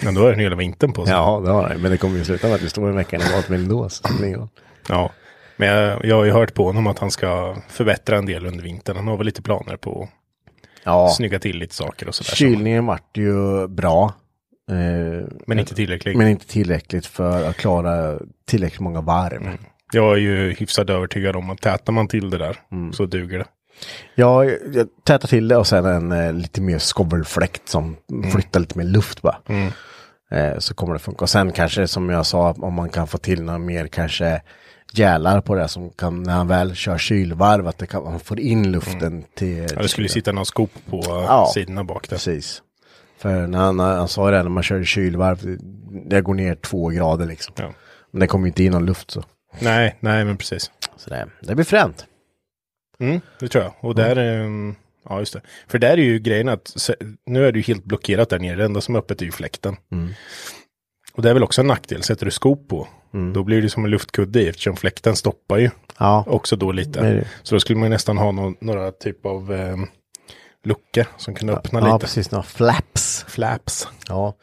S1: Men då har den hela vintern på sig.
S2: Ja, det har han. Men det kommer ju sluta med att vi står i veckan i matbilen då. Så det spelar ingen roll.
S1: Ja. Men jag, jag har ju hört på honom att han ska förbättra en del under vintern. Han har väl lite planer på
S2: ja,
S1: att snygga till lite saker och sådär.
S2: kylningen vart ju bra. eh,
S1: Men inte tillräckligt.
S2: Men inte tillräckligt för att klara tillräckligt många varv.
S1: Jag är ju hyfsat övertygad om att tätar man till det där
S2: Mm.
S1: så duger det.
S2: Ja, jag jag tätar till det och sen en eh, lite mer skovelfläkt som
S1: Mm.
S2: flyttar lite mer luft bara. Eh, så kommer det funka. Och sen kanske som jag sa, om man kan få till några mer kanske gälar på det som kan, när han väl kör kylvarv, att det kan, man får in luften till...
S1: Mm. Ja, det skulle ju sitta någon skop på eh,
S2: Ja.
S1: sidorna bak där.
S2: Precis. För när han, han sa det, här, när man kör kylvarv, det- det går ner två grader liksom.
S1: Ja.
S2: Men det kommer ju inte in någon luft så.
S1: Nej, nej men precis.
S2: Så det, det blir fränt.
S1: Mm, det tror jag. Och där, ehm, ja just det. För där är ju grejen att se- nu är det ju helt blockerat där nere. Det enda som är öppet är ju fläkten.
S2: Mm.
S1: Och det är väl också en nackdel. Sätter du skop på, då blir det som en luftkudde i eftersom fläkten stoppar ju
S2: Mm. Ja.
S1: också då lite.
S2: Det är det.
S1: Så då skulle man ju nästan ha nå- några typ av ehm, luckor som kunde öppna
S2: ja,
S1: lite.
S2: precis. Några flaps.
S1: Flaps.
S2: Ja,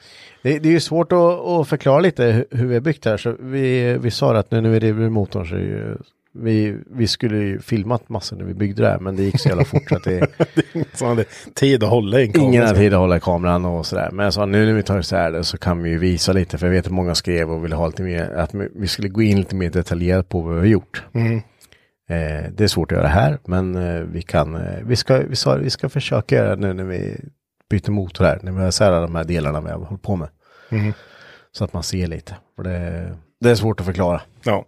S2: det, det är ju svårt att, att förklara lite hu- hur vi har byggt här. Så vi, vi sa det att nu när vi river motorn så är ju, vi, vi skulle ju filmat massor när vi byggde det här, men det gick så jävla fort så att det
S1: Så man hade tid att hålla i en kamera.
S2: ingen hade tid att hålla i kameran och sådär. Men jag sa nu när vi tar isär det så kan vi ju visa lite, för jag vet att många skrev och ville ha lite mer, att vi skulle gå in lite mer detaljerat på vad vi har gjort.
S1: Mm.
S2: Eh, det är svårt att göra här, men eh, vi kan, eh, vi ska, vi sa vi ska försöka göra det nu när vi byter motor här, när vi har isär alla de här delarna vi har hållit på med.
S1: Mm.
S2: Så att man ser lite, för det, det är svårt att förklara.
S1: Ja.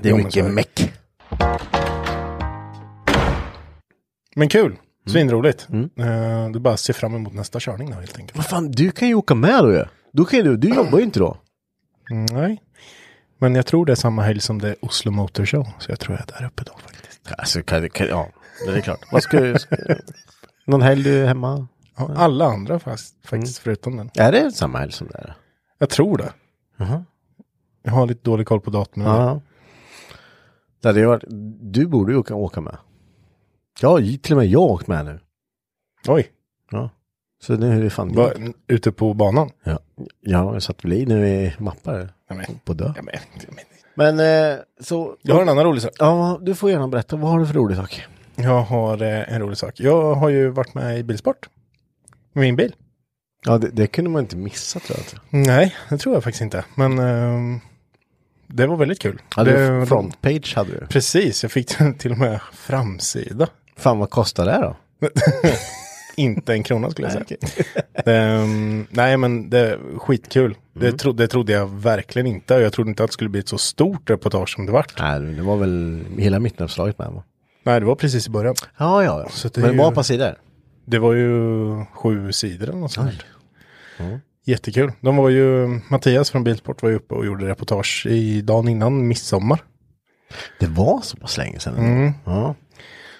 S2: Det är
S1: Jo, men så är
S2: mycket
S1: det.
S2: meck.
S1: Men kul.
S2: Mm.
S1: Svinroligt. Eh, det är bara att se fram emot nästa körning då helt enkelt.
S2: Vad fan, du kan ju åka med då ju. Då kan ju du, du jobbar ju inte då.
S1: Mm, Nej. Men jag tror det är samma helg som det är Oslo Motor Show. Så jag tror jag är där uppe då faktiskt.
S2: Alltså, kan, kan, ja, det är klart. Vad ska du... ska- Någon helg du är hemma?
S1: Ja, alla andra fast, faktiskt förutom den.
S2: Är det samma helg som det är?
S1: Jag tror det. Jag har lite dålig koll på datumen.
S2: Ja. Det hade ju varit... Du borde ju åka, åka med. Ja, till och med jag har åkt med nu.
S1: Oj,
S2: Ja. Så nu är det fan...
S1: var, ute på banan.
S2: Ja, ja jag satt väl i nu i mappar.
S1: Ja, men-
S2: På dö.
S1: ja, men- ja, men-
S2: Men eh, så...
S1: Jag har en annan rolig sak.
S2: Ja, du får gärna berätta. Vad har du för rolig sak?
S1: Jag har eh, en rolig sak. Jag har ju varit med i Bilsport. Med min bil.
S2: Ja, det, det kunde man inte missa tror jag.
S1: Nej, det tror jag faktiskt inte. Men ehm, det var väldigt kul.
S2: Ja,
S1: det,
S2: du, frontpage hade du.
S1: Precis, jag fick [LAUGHS] till och med framsida.
S2: Fan, vad kostar det då?
S1: Inte en krona skulle jag säga. [LAUGHS] Ehm, nej men det är skitkul. Det, tro, det trodde jag verkligen inte. Jag trodde inte att det skulle bli ett så stort reportage som det vart.
S2: Nej, det var väl hela mittenuppslaget med va?
S1: Nej det var precis i början.
S2: Ja, ja, ja.
S1: Så det är
S2: Men
S1: ju-
S2: bara på sidor?
S1: Det var ju sju sidor eller något sånt. där. Jättekul. De var ju, Mattias från Bilsport var ju uppe och gjorde reportage i dagen innan midsommar.
S2: Det var så pass länge sedan.
S1: Mm.
S2: Ja.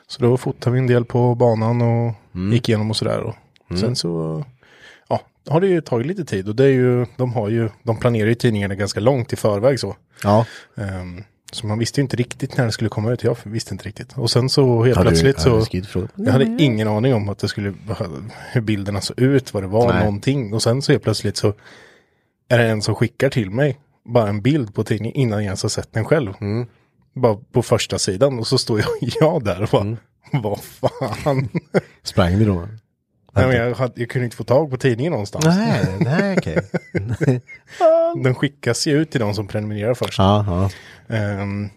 S1: Så då fotade vi en del på banan och gick igenom och sådär. Och Sen så ja, har det ju tagit lite tid och det är ju, de, har ju, de planerar ju tidningarna ganska långt i förväg så.
S2: Ja.
S1: Ehm, så man visste ju inte riktigt när det skulle komma ut. Jag visste inte riktigt. Och sen så helt
S2: Har du-
S1: plötsligt
S2: har du
S1: så.
S2: skrivit frågor?
S1: Jag hade ingen aning om att det skulle, hur bilderna såg ut, vad det var,
S2: Nej.
S1: någonting. Och sen så helt plötsligt så är det en som skickar till mig bara en bild på tidningen innan jag ens har sett den själv.
S2: Mm.
S1: Bara på första [LAUGHS]
S2: Mm.
S1: sidan och så står jag, jag där och bara, vad fan.
S2: Sprang du då?
S1: Nej, men jag, hade, jag kunde inte få tag på tidningen någonstans.
S2: Nej, nej okej.
S1: Den skickas ju ut till de som prenumererar först.
S2: [LAUGHS] Ja, ja.
S1: Ehm,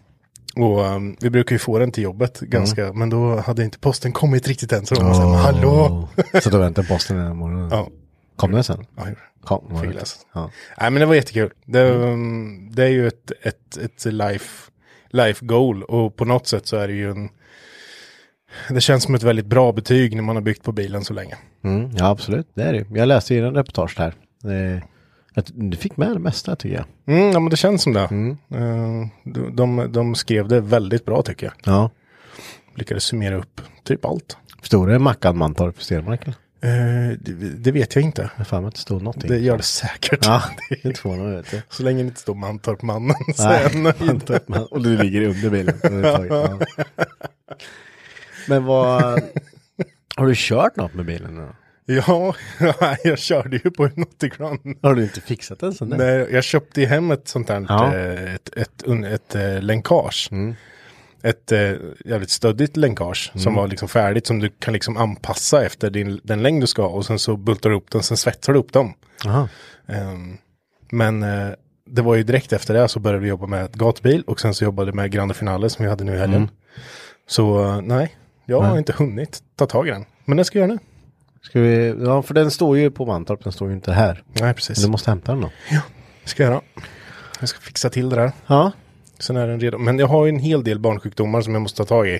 S1: och ehm, vi brukar ju få den till jobbet ganska, men då hade inte posten kommit riktigt än. Så de var så här, hallå!
S2: Så då väntar posten den här morgonen.
S1: Ja,
S2: Kom den sen?
S1: ja, hur-
S2: Kom. var
S1: fick
S2: det.
S1: läsa.
S2: Ja.
S1: Nej men det var jättekul. Det, ehm, det är ju ett, ett, ett life, life goal och på något sätt så är det ju en... Det känns som ett väldigt bra betyg när man har byggt på bilen så länge.
S2: Mm, ja, absolut. Det är det ju. Jag läste ju en reportage där. Eh, att Du fick med det mesta tycker jag.
S1: Mm, ja men det känns som det. Ehm, de, de, de skrev det väldigt bra tycker jag.
S2: Ja.
S1: Lyckades summera upp typ allt.
S2: Stod det Mackan Mantorp Stenmark? eller?
S1: Eh, det, det vet jag inte.
S2: Jag har för mig att det stod någonting.
S1: Det gör det säkert. [LAUGHS]
S2: Ja, [LAUGHS] det är inte förvånande. vet du.
S1: Så länge det inte står Mantorp-mannen så
S2: Nej,
S1: är jag nöjd.
S2: Mantorp, man- Och det ligger under bilen. [LAUGHS] Ja. Men vad... Har du kört något med bilen nu då?
S1: Ja, [LAUGHS] jag körde ju på en 80 grand.
S2: Har du inte fixat den sen dess?
S1: Nej, jag köpte ju hem ett sånt här,
S2: Ja. Mm.
S1: eh, ett, ett, un- ett, eh, länkage. Ett eh, jävligt stöddigt länkage som var liksom färdigt som du kan liksom anpassa efter din, den längd du ska och sen så bultar du upp den, sen svetsar du upp dem.
S2: Jaha.
S1: Ehm, men eh, det var ju direkt efter det så började vi jobba med ett gatbil och sen så jobbade vi med Grande Finale som vi hade nu i
S2: Mm.
S1: helgen. Så eh, nej, jag har inte hunnit ta tag i den. Men det ska jag göra nu.
S2: Ska vi... Ja, för den står ju på Mantorp, den står ju inte här.
S1: Nej, precis.
S2: Du måste hämta den då.
S1: ska jag göra. Jag ska fixa till det där.
S2: Ja.
S1: Sen är den redo. Men jag har ju en hel del barnsjukdomar som jag måste ta tag i.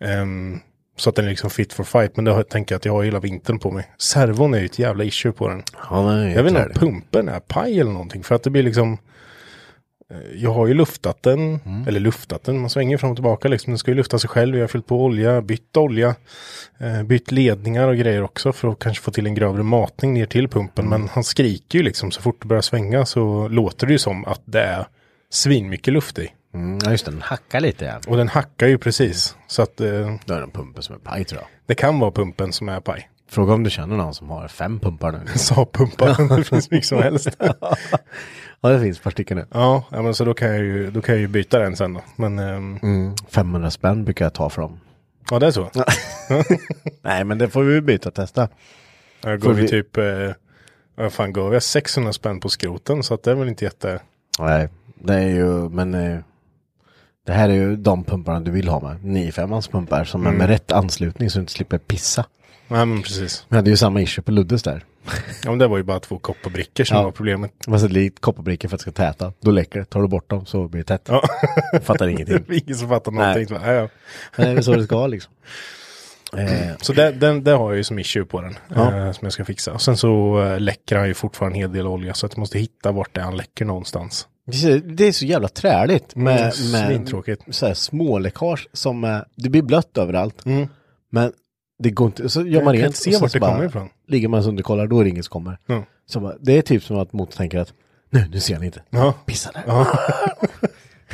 S1: Ehm, så att den är liksom fit for fight. Men det har, jag tänker jag att jag har hela vintern på mig. Servon är ju ett jävla issue på den.
S2: ja den är ju
S1: Jag vet inte om
S2: klar.
S1: pumpen är paj eller någonting. För att det blir liksom... eh, Jag har ju luftat den, eller luftat den, man svänger fram och tillbaka liksom. Den ska ju lufta sig själv. Jag har fyllt på olja, bytt olja, eh, bytt ledningar och grejer också för att kanske få till en grövre matning ner till pumpen. Men han skriker ju liksom, så fort det börjar svänga så låter det ju som att det är svinmycket luft i.
S2: Mm, ja, just det. Den hackar lite ja.
S1: Och den hackar ju precis. Så att eh,
S2: Då är det en pumpen som är paj tror jag.
S1: det kan vara pumpen som är paj. [LAUGHS]
S2: Fråga om du känner någon som har fem pumpar [LAUGHS] nu.
S1: Sa [LAUGHS] pumpan, det finns mycket som helst.
S2: [LAUGHS] ja, det finns ett par stycken nu.
S1: Ja, ja, men så då kan, jag ju, då kan jag ju byta den sen då. Men ehm,
S2: 500 spänn brukar jag ta för dem.
S1: ja, det är så.
S2: Nej, men det får vi byta och testa.
S1: Jag går
S2: För
S1: vi
S2: vi-
S1: typ, eh, vad fan gav jag 600 spänn på skroten så att det är väl inte jätte...
S2: Nej, det är ju, men eh, det här är ju de pumparna du vill ha med. 95ans pumpar som är med rätt anslutning så du inte slipper pissa.
S1: Nej men precis.
S2: Vi hade ju samma issue på Luddes där.
S1: Ja, men det var ju bara två kopparbrickor som
S2: Ja.
S1: var problemet.
S2: Man sätter dit kopparbrickor för att det ska täta. Då läcker det. Tar du bort dem så blir det tätt.
S1: Ja.
S2: Jag fattar ingenting.
S1: [LAUGHS]
S2: [LAUGHS]
S1: Det var Ingen som fattar någonting. Så, ja, ja.
S2: Men det är väl så det ska liksom. Eh,
S1: så det, den, det har jag ju som issue på den.
S2: Ja.
S1: Eh, som jag ska fixa. Och sen så eh, läcker han ju fortfarande en hel del olja så att jag måste hitta vart det är han läcker någonstans.
S2: Det är så- Det är så jävla träligt med,
S1: Mm,
S2: med
S1: svintråkigt.
S2: så här små läckage som är, det blir blött överallt. Men det går inte, så gör
S1: Mm. Jag
S2: man
S1: kan
S2: rent
S1: inte se
S2: och sen
S1: vart
S2: så
S1: det kommer ifrån.
S2: Ligger man och underkollar, då är det ingen som kommer.
S1: Ja.
S2: Så bara, det är typ som att motorn tänker att nu, nu ser han inte.
S1: Ja.
S2: Pissa där.
S1: Ja.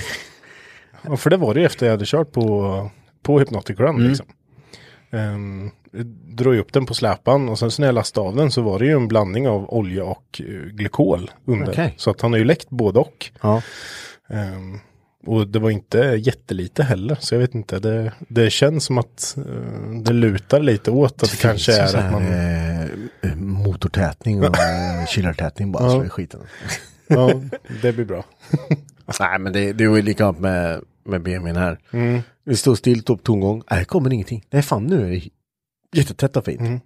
S1: [LAUGHS] ja, för det var det ju efter jag hade kört på, på Hypnotic Run.
S2: Mm.
S1: Liksom. Ehm, jag drog ju upp den på släpan och sen så när jag lastade av den så var det ju en blandning av olja och eh, glykol under.
S2: Okej.
S1: Så att han har ju läckt både och.
S2: Ja.
S1: Ehm, och det var inte jättelite heller, så jag vet inte. Det, det känns som att eh, det lutar lite åt att det, kanske
S2: finns ju
S1: är
S2: så
S1: att man...
S2: här, eh, motortätning
S1: [LAUGHS]
S2: och eh, kylartätning bara, så är skiten.
S1: ja, det blir bra.
S2: Alltså, Nej, men det, det är ju likadant med, med BMWn här. Det står still, topp tomgång. Nej, det kommer ingenting. Nej, fan nu är det jättetätt och fint.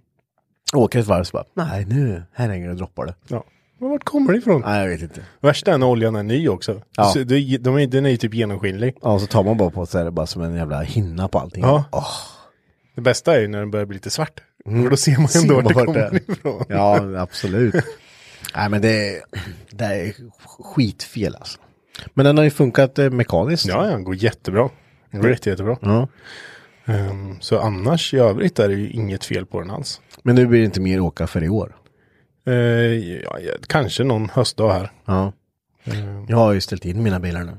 S2: Åker ett varv så bara, nej nu, här hänger det och droppar det.
S1: Ja. Men vart kommer det ifrån?
S2: Nej, jag vet inte.
S1: Värst är när oljan är ny också.
S2: Ja.
S1: Så det, de är, den är ju typ genomskinlig.
S2: Ja, så tar man bara på så är det bara som en jävla hinna på allting.
S1: Ja.
S2: Åh,
S1: Det bästa är ju när den börjar bli lite svart. För då ser man ändå vart det
S2: Mm. vart
S1: kommer
S2: är.
S1: ifrån.
S2: [LAUGHS] Ja, absolut. nej, men det, det är skitfel alltså. Men den har ju funkat eh, mekaniskt.
S1: Ja, ja, den går jättebra. Den
S2: Mm.
S1: går jätte, jättebra.
S2: Ja.
S1: Ehm, så annars i övrigt är det ju inget fel på den alls.
S2: Men nu blir det inte mer åka för i år.
S1: Eh, ja, ja, kanske någon höstdag här.
S2: Ja. Jag har ju ställt in mina bilar nu.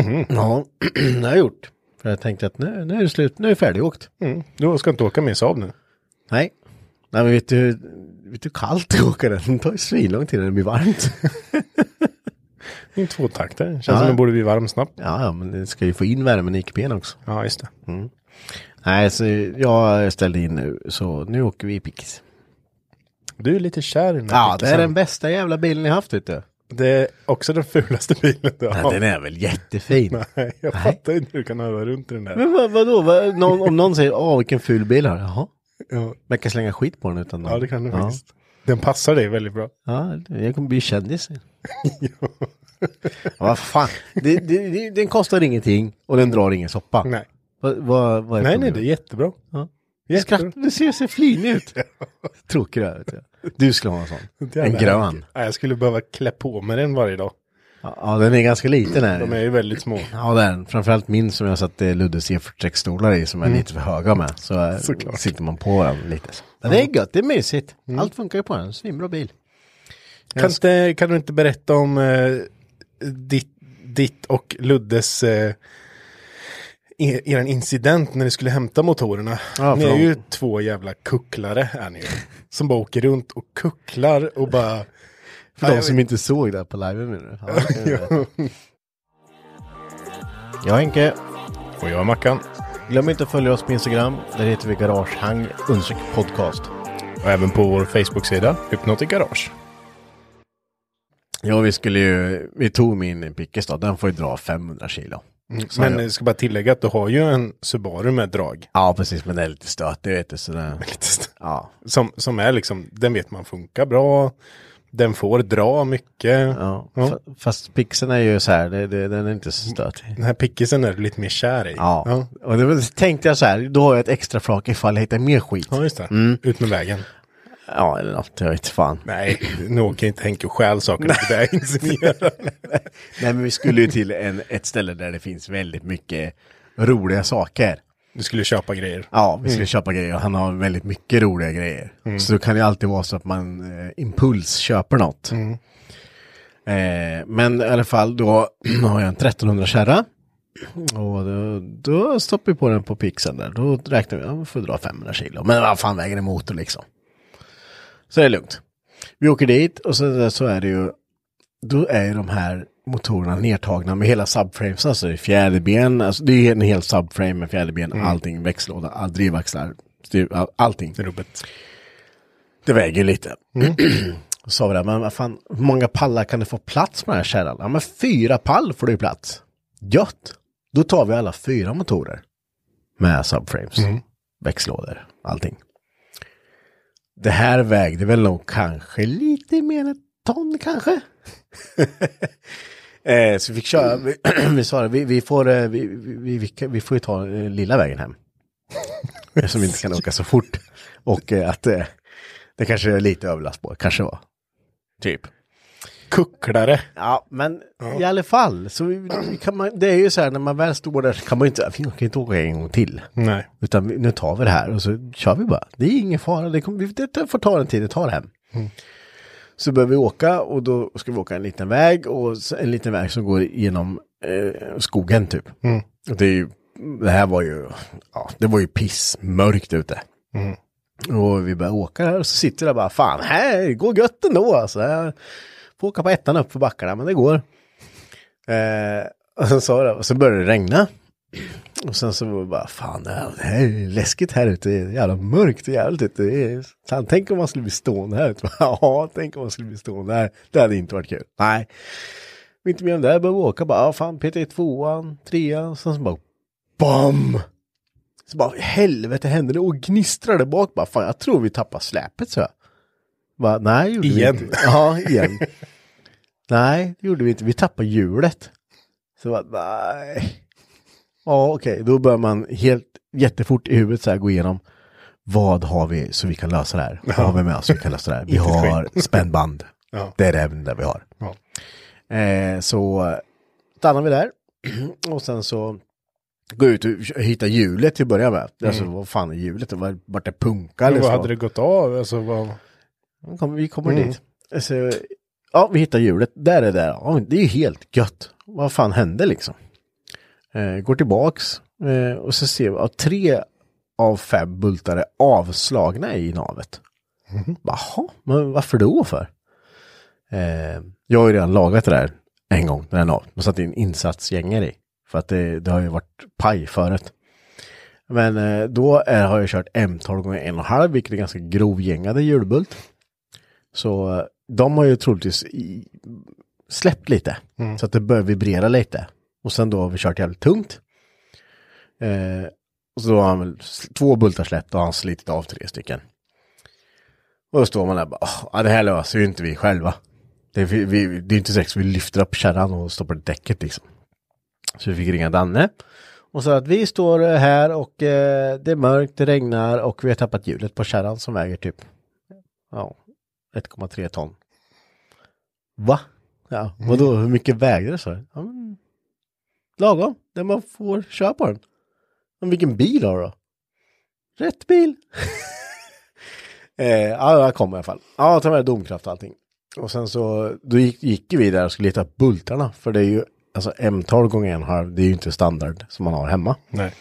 S1: Ehm. Mhm.
S2: Ja, [CLEARS THROAT] det har jag gjort. För jag tänkte att nu, nu är det slut, nu är det färdigåkt.
S1: Mm. Du ska inte åka med Saab nu.
S2: Nej. Nej men vet du, hur- vet du hur kallt det åker den? Det tar ju svinlång tid när det blir varmt. [LAUGHS]
S1: Det är en tvåtaktare. Känns
S2: Ja.
S1: som den borde bli varm snabbt.
S2: Ja, ja, men den ska ju få in värmen i kupén också.
S1: Ja, just det.
S2: Nej, så jag ställde in nu, så nu åker vi i Pix.
S1: Du är lite kär i den här
S2: Ja, det är
S1: pickisen.
S2: den bästa jävla bilen ni haft vet du.
S1: Det är också den fulaste bilen du har.
S2: Ja, den är väl jättefin.
S1: [LAUGHS] Nej, jag fattar inte hur du kan öva runt i den där.
S2: Men vad, vadå, vad, någon, om någon säger åh vilken ful bil har du?" Jaha,
S1: Ja,
S2: man kan slänga skit på den utan någon.
S1: ja det kan du
S2: ja.
S1: faktiskt. Den passar dig väldigt bra.
S2: Ja, jag kommer bli [LAUGHS] kändis. ja, vad fan, det, det, det, den kostar ingenting och den drar ingen soppa.
S1: Nej,
S2: Vad, vad, vad är
S1: nej, nej
S2: problemet?
S1: det är jättebra.
S2: Ja.
S1: Jättebra.
S2: Skratt, du ser så flinig ut. [LAUGHS] Tråkig du är, vet jag. Du skulle ha en sån.
S1: Det är
S2: En
S1: jävla
S2: grön.
S1: äckligt. Nej, jag skulle behöva klä på mig den varje dag.
S2: Ja, den är ganska liten. Här.
S1: De är ju väldigt
S2: [LAUGHS]
S1: små.
S2: Ja, det är den. Framförallt min som jag satte Luddes E46-stolar i som är lite för höga med. Så eh,
S1: Mm. Såklart. Mm.
S2: sitter man på den lite. så. Men det är gött, det är mysigt. Allt funkar ju på den. Svinbra bil.
S1: Kan, inte, kan du inte berätta om eh, ditt, ditt och Luddes eh, er, er incident när ni skulle hämta motorerna?
S2: Ja,
S1: ni
S2: för
S1: är
S2: de-
S1: ju två jävla kucklare är ni ju, Som bara åker runt och kucklar och bara...
S2: [LAUGHS] För
S1: Ja,
S2: de
S1: jag
S2: som inte såg det här på live nu. Ja,
S1: [LAUGHS]
S2: jag, jag är Henke.
S1: Och jag är Mackan.
S2: Glöm inte att följa oss på Instagram. Där heter vi Garagehang Unsök Podcast.
S1: Och även på vår Facebook-sida, Hypnotic Garage.
S2: Ja, vi skulle ju, vi tog min pickes då. Den får ju dra 500 kilo. Så
S1: Mm, Men
S2: jag-
S1: jag ska bara tillägga att du har ju en Subaru med drag.
S2: Ja, precis. Men den är lite stötig, vet du.
S1: [LAUGHS]
S2: Så den, ja.
S1: Som, som är liksom, den vet man funkar bra. Den får dra mycket.
S2: Ja,
S1: Ja.
S2: fa- fast pixen är ju så här, det, det, den är inte så stötig.
S1: Den här pickisen är du lite mer kär i.
S2: Ja.
S1: Mm. ja.
S2: och då tänkte jag så här, då har jag ett extra flak ifall jag hittar mer skit.
S1: Ja, just det.
S2: Mm.
S1: Ut med vägen.
S2: Ja, eller något, jag vet fan.
S1: Nej, nu åker inte Henke och stjäl saker på vägen.
S2: Nej, men vi skulle ju till en, ett ställe där det finns väldigt mycket roliga saker.
S1: Du skulle köpa grejer.
S2: Ja, vi skulle köpa grejer och han har väldigt mycket roliga grejer. Så det kan ju alltid vara så att man eh, impuls köper något. Eh, men i alla fall, då [CLEARS THROAT] har jag en 1300 kärra. Och då, då stoppar vi på den på pixeln där. Då räknar vi, ja, vi får dra 500 kilo. Men vad fan väger en motor liksom? Så det är lugnt. Vi åker dit och så, så är det ju, då är ju de här motorerna nedtagna med hela subframes, alltså i fjäderben, alltså det är en hel subframe med fjäderben, allting, växellåda, all drivaxlar, styr, all, allting.
S1: Rubbet.
S2: Det väger ju lite. [CLEARS THROAT] Och sa vi det, men vad fan, hur många pallar kan du få plats med den här kärran? Ja, men fyra pall får du ju plats. Gött! Då tar vi alla fyra motorer. Med subframes, växellådor, allting. Det här vägde väl nog kanske lite mer än ett ton kanske. eh, så vi fick köra, vi, [CLEARS THROAT] vi sa det, vi, vi, får, eh, vi, vi, vi, vi, kan- vi får ju ta eh, lilla vägen hem. Eftersom vi inte kan åka så fort. Och eh, att eh, det kanske är lite överlast på, kanske var. Typ.
S1: Kucklare.
S2: Ja, men i alla fall. Så vi, vi kan man, det är ju så här när man väl står där så kan man ju inte, vi kan inte åka en gång till.
S1: Nej.
S2: Utan vi, nu tar vi det här och så kör vi bara. Det är ingen fara, det, kommer, vi- det det får ta den tid det tar hem. Så börjar vi åka och då ska vi åka en liten väg och så- en liten väg som går genom eh, skogen typ. Och det, är ju, det här var ju, ja, det var ju pissmörkt ute. Och vi börjar åka här och så sitter jag bara, fan här, det går gött ändå alltså. Jag får åka på ettan upp för backarna, men det går. Eh, och sen sa jag, och så började det regna. Och sen så var det bara, fan det här- det här är ju läskigt här ute, det är jävla mörkt och jävligt ute. Det är- Fan, tänk om man skulle bli stående här ute. [LAUGHS] Ja, tänk om man skulle bli stående här. Det hade inte varit kul. Nej. Vi är Inte med om det här, började vi åka bara, ja fan, peta i tvåan, trean, sen så bara, BAM! Så bara, helvete hände det? Och gnistrade bak bara, fan jag tror vi tappar släpet så jag. Bara, nej, gjorde
S1: Igen. [LAUGHS]
S2: vi inte. Ja, igen. nej, det gjorde vi inte, vi tappade hjulet. Så bara, nej. Ja, okej, då bör man helt jättefort i huvudet så här gå igenom. Vad har vi så vi kan lösa det här? Vad har vi med oss så vi kan lösa det här? Vi har spännband.
S1: Ja.
S2: Det är det enda vi har.
S1: Ja.
S2: Eh, så stannar vi där [CLEARS THROAT] och sen så går jag ut och hittar hjulet till att börja med. Alltså vad fan är hjulet? Och var- Vart liksom? är punka?
S1: Mm. Men
S2: Eller
S1: vad
S2: så?
S1: hade det gått av? Alltså, vad...
S2: Vi kommer, vi kommer dit. Så, ja, vi hittar hjulet. Där är det. Ja, det är ju helt gött. Vad fan hände liksom? Eh, går tillbaks eh, och så ser vi att tre av fem bultar är avslagna i navet. Jaha, men varför då för? Eh, jag har ju redan lagat det där en gång, den här navet. Man satte in insatsgängor i. För att det, det har ju varit paj förut. Men eh, då är, har jag kört M12 gånger en och en halv, vilket är ganska grovgängade hjulbult. Så eh, de har ju troligtvis i, släppt lite, så att det börjar vibrera lite. Och sen då har vi kört jävligt tungt. Eh, och så då har han väl s- två bultar släppt och han har slitit av tre stycken. Och då står man där och bara, "Åh, ja, det här löser ju inte vi själva. Det, är- vi, vi, det är inte direkt så vi lyfter upp kärran och stoppar däcket liksom. Så vi fick ringa Danne. Och så att vi står här och eh, det är mörkt, det regnar och vi har tappat hjulet på kärran som väger typ ja, 1,3 ton. Va? Ja, vadå, hur mycket väger det så? Ja, men, lagom, det man får köra på den. Men vilken bil har du då? Rätt bil. [LAUGHS] eh, ja, jag kom i alla fall. Ja, ta med domkraft och allting. Och sen så, då gick, gick ju vi där och skulle leta bultarna. För det är ju, alltså M12 gånger en halv, det är ju inte standard som man har hemma.
S1: Nej.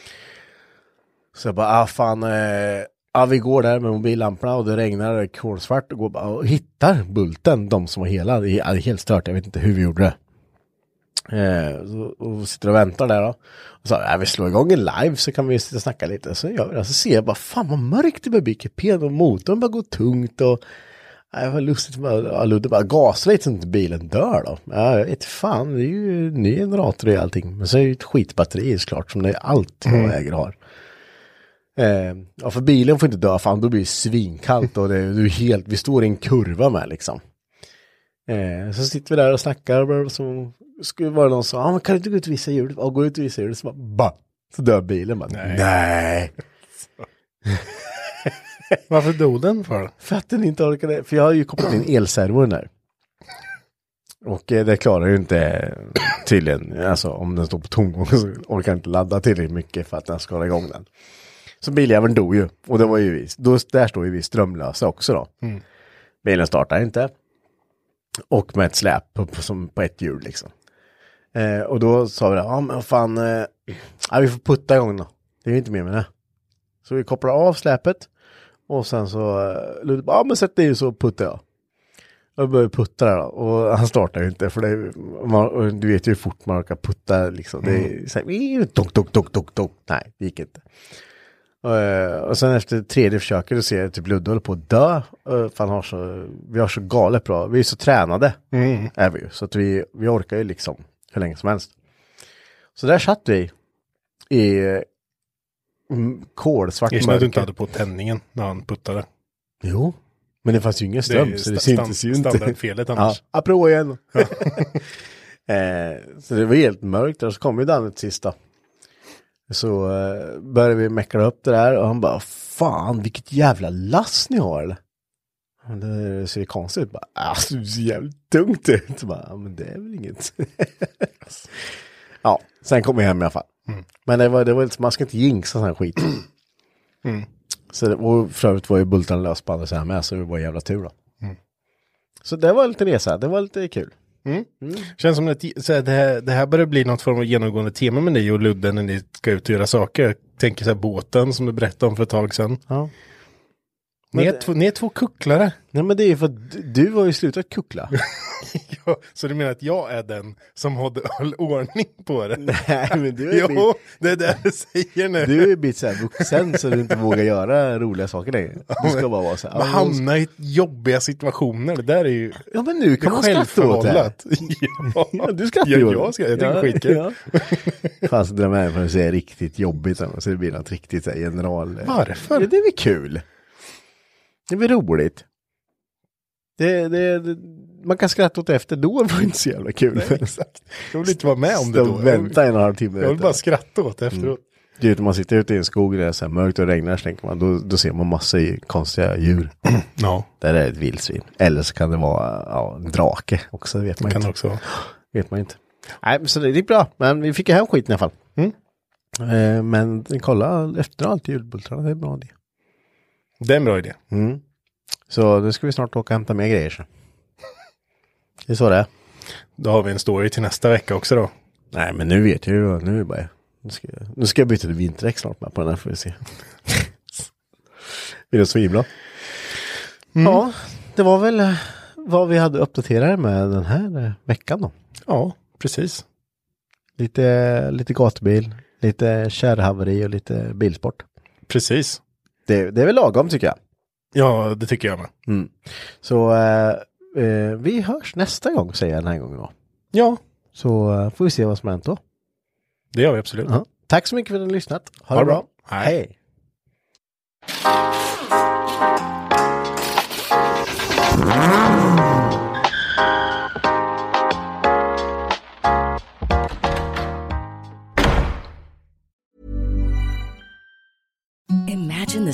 S2: Så jag bara, ah fan, eh, ah, vi går där med mobillamporna och det regnar, det är kolsvart och går bara och hittar bulten, de som var hela. Det är, ah, det är helt stört, jag vet inte hur vi gjorde det. Eh, så- och sitter och väntar där då. Och så, ah, vi slår igång en live så kan vi sitta och snacka lite. Så gör vi det. Så ser jag bara, fan vad mörkt det börjar bli i kupén och motorn bara går tungt och Nej, vad lustigt. Ja, Ludde bara gasar lite så inte bilen dör då. Ja, jag vet fan, det är ju ny generator i allting. Men så är det ju ett skitbatteri såklart som det är allt jag äger har. Eh, ja, för bilen får inte dö, fan då blir det svinkallt och det, du är helt, vi står i en kurva med liksom. Eh, så sitter vi där och snackar och bla, så skulle vara någon som sa, ah, men kan du inte gå ut och visa hjulet? Ja, gå ut och visa hjulet. Så bara, bah, så dör bilen. Bara, Nej.
S1: [LAUGHS] Varför dog den för?
S2: För att den inte orkade, för jag har ju kopplat in elservon där. Och eh, det klarar ju inte eh, tydligen, alltså om den står på tomgång så orkar den inte ladda tillräckligt mycket för att den ska hålla igång den. Så biljäveln dog ju, och det var ju vi, då, där står ju vi strömlösa också då. Bilen startar inte. Och med ett släp på, på, som på ett hjul liksom. Eh, och då sa vi det, ja men fan, eh, ja, vi får putta igång då. Det är ju inte mer med det. Så vi kopplar av släpet. Och sen så, eh, Ludde bara, ja men sätt dig i så puttar jag. Jag började putta där då, och han startar ju inte för det, är- man, och du vet ju hur fort man orkar putta liksom.
S1: Mm.
S2: Det är så här, tok, tok, tok, tok, tok. Nej, det gick inte. Eh, och sen efter tredje försöket så ser jag typ Ludde håller på att dö. eh, för han har så, vi har så galet bra, vi är så tränade.
S1: Mm.
S2: Är vi ju, så att vi, vi orkar ju liksom hur länge som helst. Så där satt vi i eh, mm, kolsvart
S1: Just att
S2: mörker.
S1: du inte hade på tändningen när han puttade.
S2: Jo, men det fanns ju ingen ström
S1: är
S2: så det
S1: sta-
S2: syntes ju
S1: stan-
S2: inte.
S1: standardfelet
S2: Ja,
S1: annars. [LAUGHS]
S2: apropå igen. [LAUGHS] eh, så det var helt mörkt där, så kom ju Danne till sist då. Så eh, började vi mäckla upp det där och han bara, fan vilket jävla lass ni har eller? Men Det ser ju konstigt ut, bara, alltså det ser jävligt tungt ut. Så bara, "Ja, men det är väl inget. [LAUGHS] ja, sen kom jag hem i alla fall.
S1: Mm.
S2: Men det var, det var, man ska inte jinxa sån här skit. Så det, och för övrigt var ju bultarna lös på andra sidan med, så det var jävla tur då. Mm. Så det var lite resa, det var lite kul.
S1: Känns som att så här, det, här, det här börjar bli något form av genomgående tema med dig och Ludde när ni ska ut och göra saker. Jag tänker så här båten som du berättade om för ett tag sedan.
S2: Ja.
S1: Ni är,
S2: Men-
S1: två, ni är två kucklare.
S2: Nej men det är ju för att du- du har ju slutat [LAUGHS] kuckla.
S1: [LAUGHS] Ja, så du menar att jag är den som håller all ordning på det?
S2: Nej men du är
S1: Jo,
S2: bit,
S1: det är det du säger nu.
S2: du är bit så här vuxen så du inte vågar göra roliga saker längre. Du ska bara vara så här.
S1: Man
S2: ja, men-
S1: hamnar i jobbiga situationer. Det där är ju
S2: Ja men nu kan man skratta åt det. här.
S1: självförvållat. ja,
S2: [LAUGHS] Ja, du skrattar
S1: ja,
S2: ju åt
S1: jag,
S2: det.
S1: ska, jag tycker det är skitkul.
S2: ja. Fan så drömmer jag för att säga riktigt jobbigt sen, så det blir något riktigt så här, general.
S1: Varför?
S2: Ja, det är väl kul. Det är väl roligt. Det, det, det, man kan skratta åt det efter, då var det inte så jävla kul.
S1: Nej, exakt. Jag vill inte vara med om det
S2: Stå
S1: då.
S2: och Vänta en och en halv timme.
S1: Jag vill
S2: vet
S1: bara
S2: du.
S1: skratta åt
S2: Mm.
S1: det efteråt.
S2: Du vet, om man sitter ute i en skog där det är så här mörkt och regnar så tänker man, då, då ser man massa ju- konstiga djur. [CLEARS THROAT]
S1: Ja,
S2: Där är ett vildsvin. Eller så kan det vara ja, en drake också, det vet man
S1: kan det
S2: inte.
S1: också vara.
S2: vet man inte. Nej, men så det gick bra, men vi fick ju hem skiten i alla fall. Eh, men kolla efter allt julbultarna, det är bra det.
S1: Det är en bra idé.
S2: Så nu ska vi snart åka och hämta mer grejer. Så. [LAUGHS] Det är så det är.
S1: Då har vi en story till nästa vecka också då.
S2: Nej, men nu vet jag ju. Nu är det bara... Nu ska, jag- nu ska jag byta till vinterdäck snart med på den här får vi se. är [LAUGHS] Mm. det svinbra? Ja, det var väl eh, vad vi hade uppdaterat med den här eh, veckan då.
S1: Ja, precis.
S2: Lite, lite gatubil, Lite kärrhaveri och lite bilsport.
S1: Precis.
S2: Det, det är väl lagom tycker jag.
S1: Ja, det tycker jag med.
S2: Mm. Så eh, eh, vi hörs nästa gång säger jag den här gången då.
S1: Ja,
S2: Så eh, får vi se vad som har hänt då.
S1: det gör vi absolut.
S2: Ja. Tack så mycket för att ni har lyssnat. Ha, det bra.
S1: Hej.
S2: Hej.
S4: Imagine the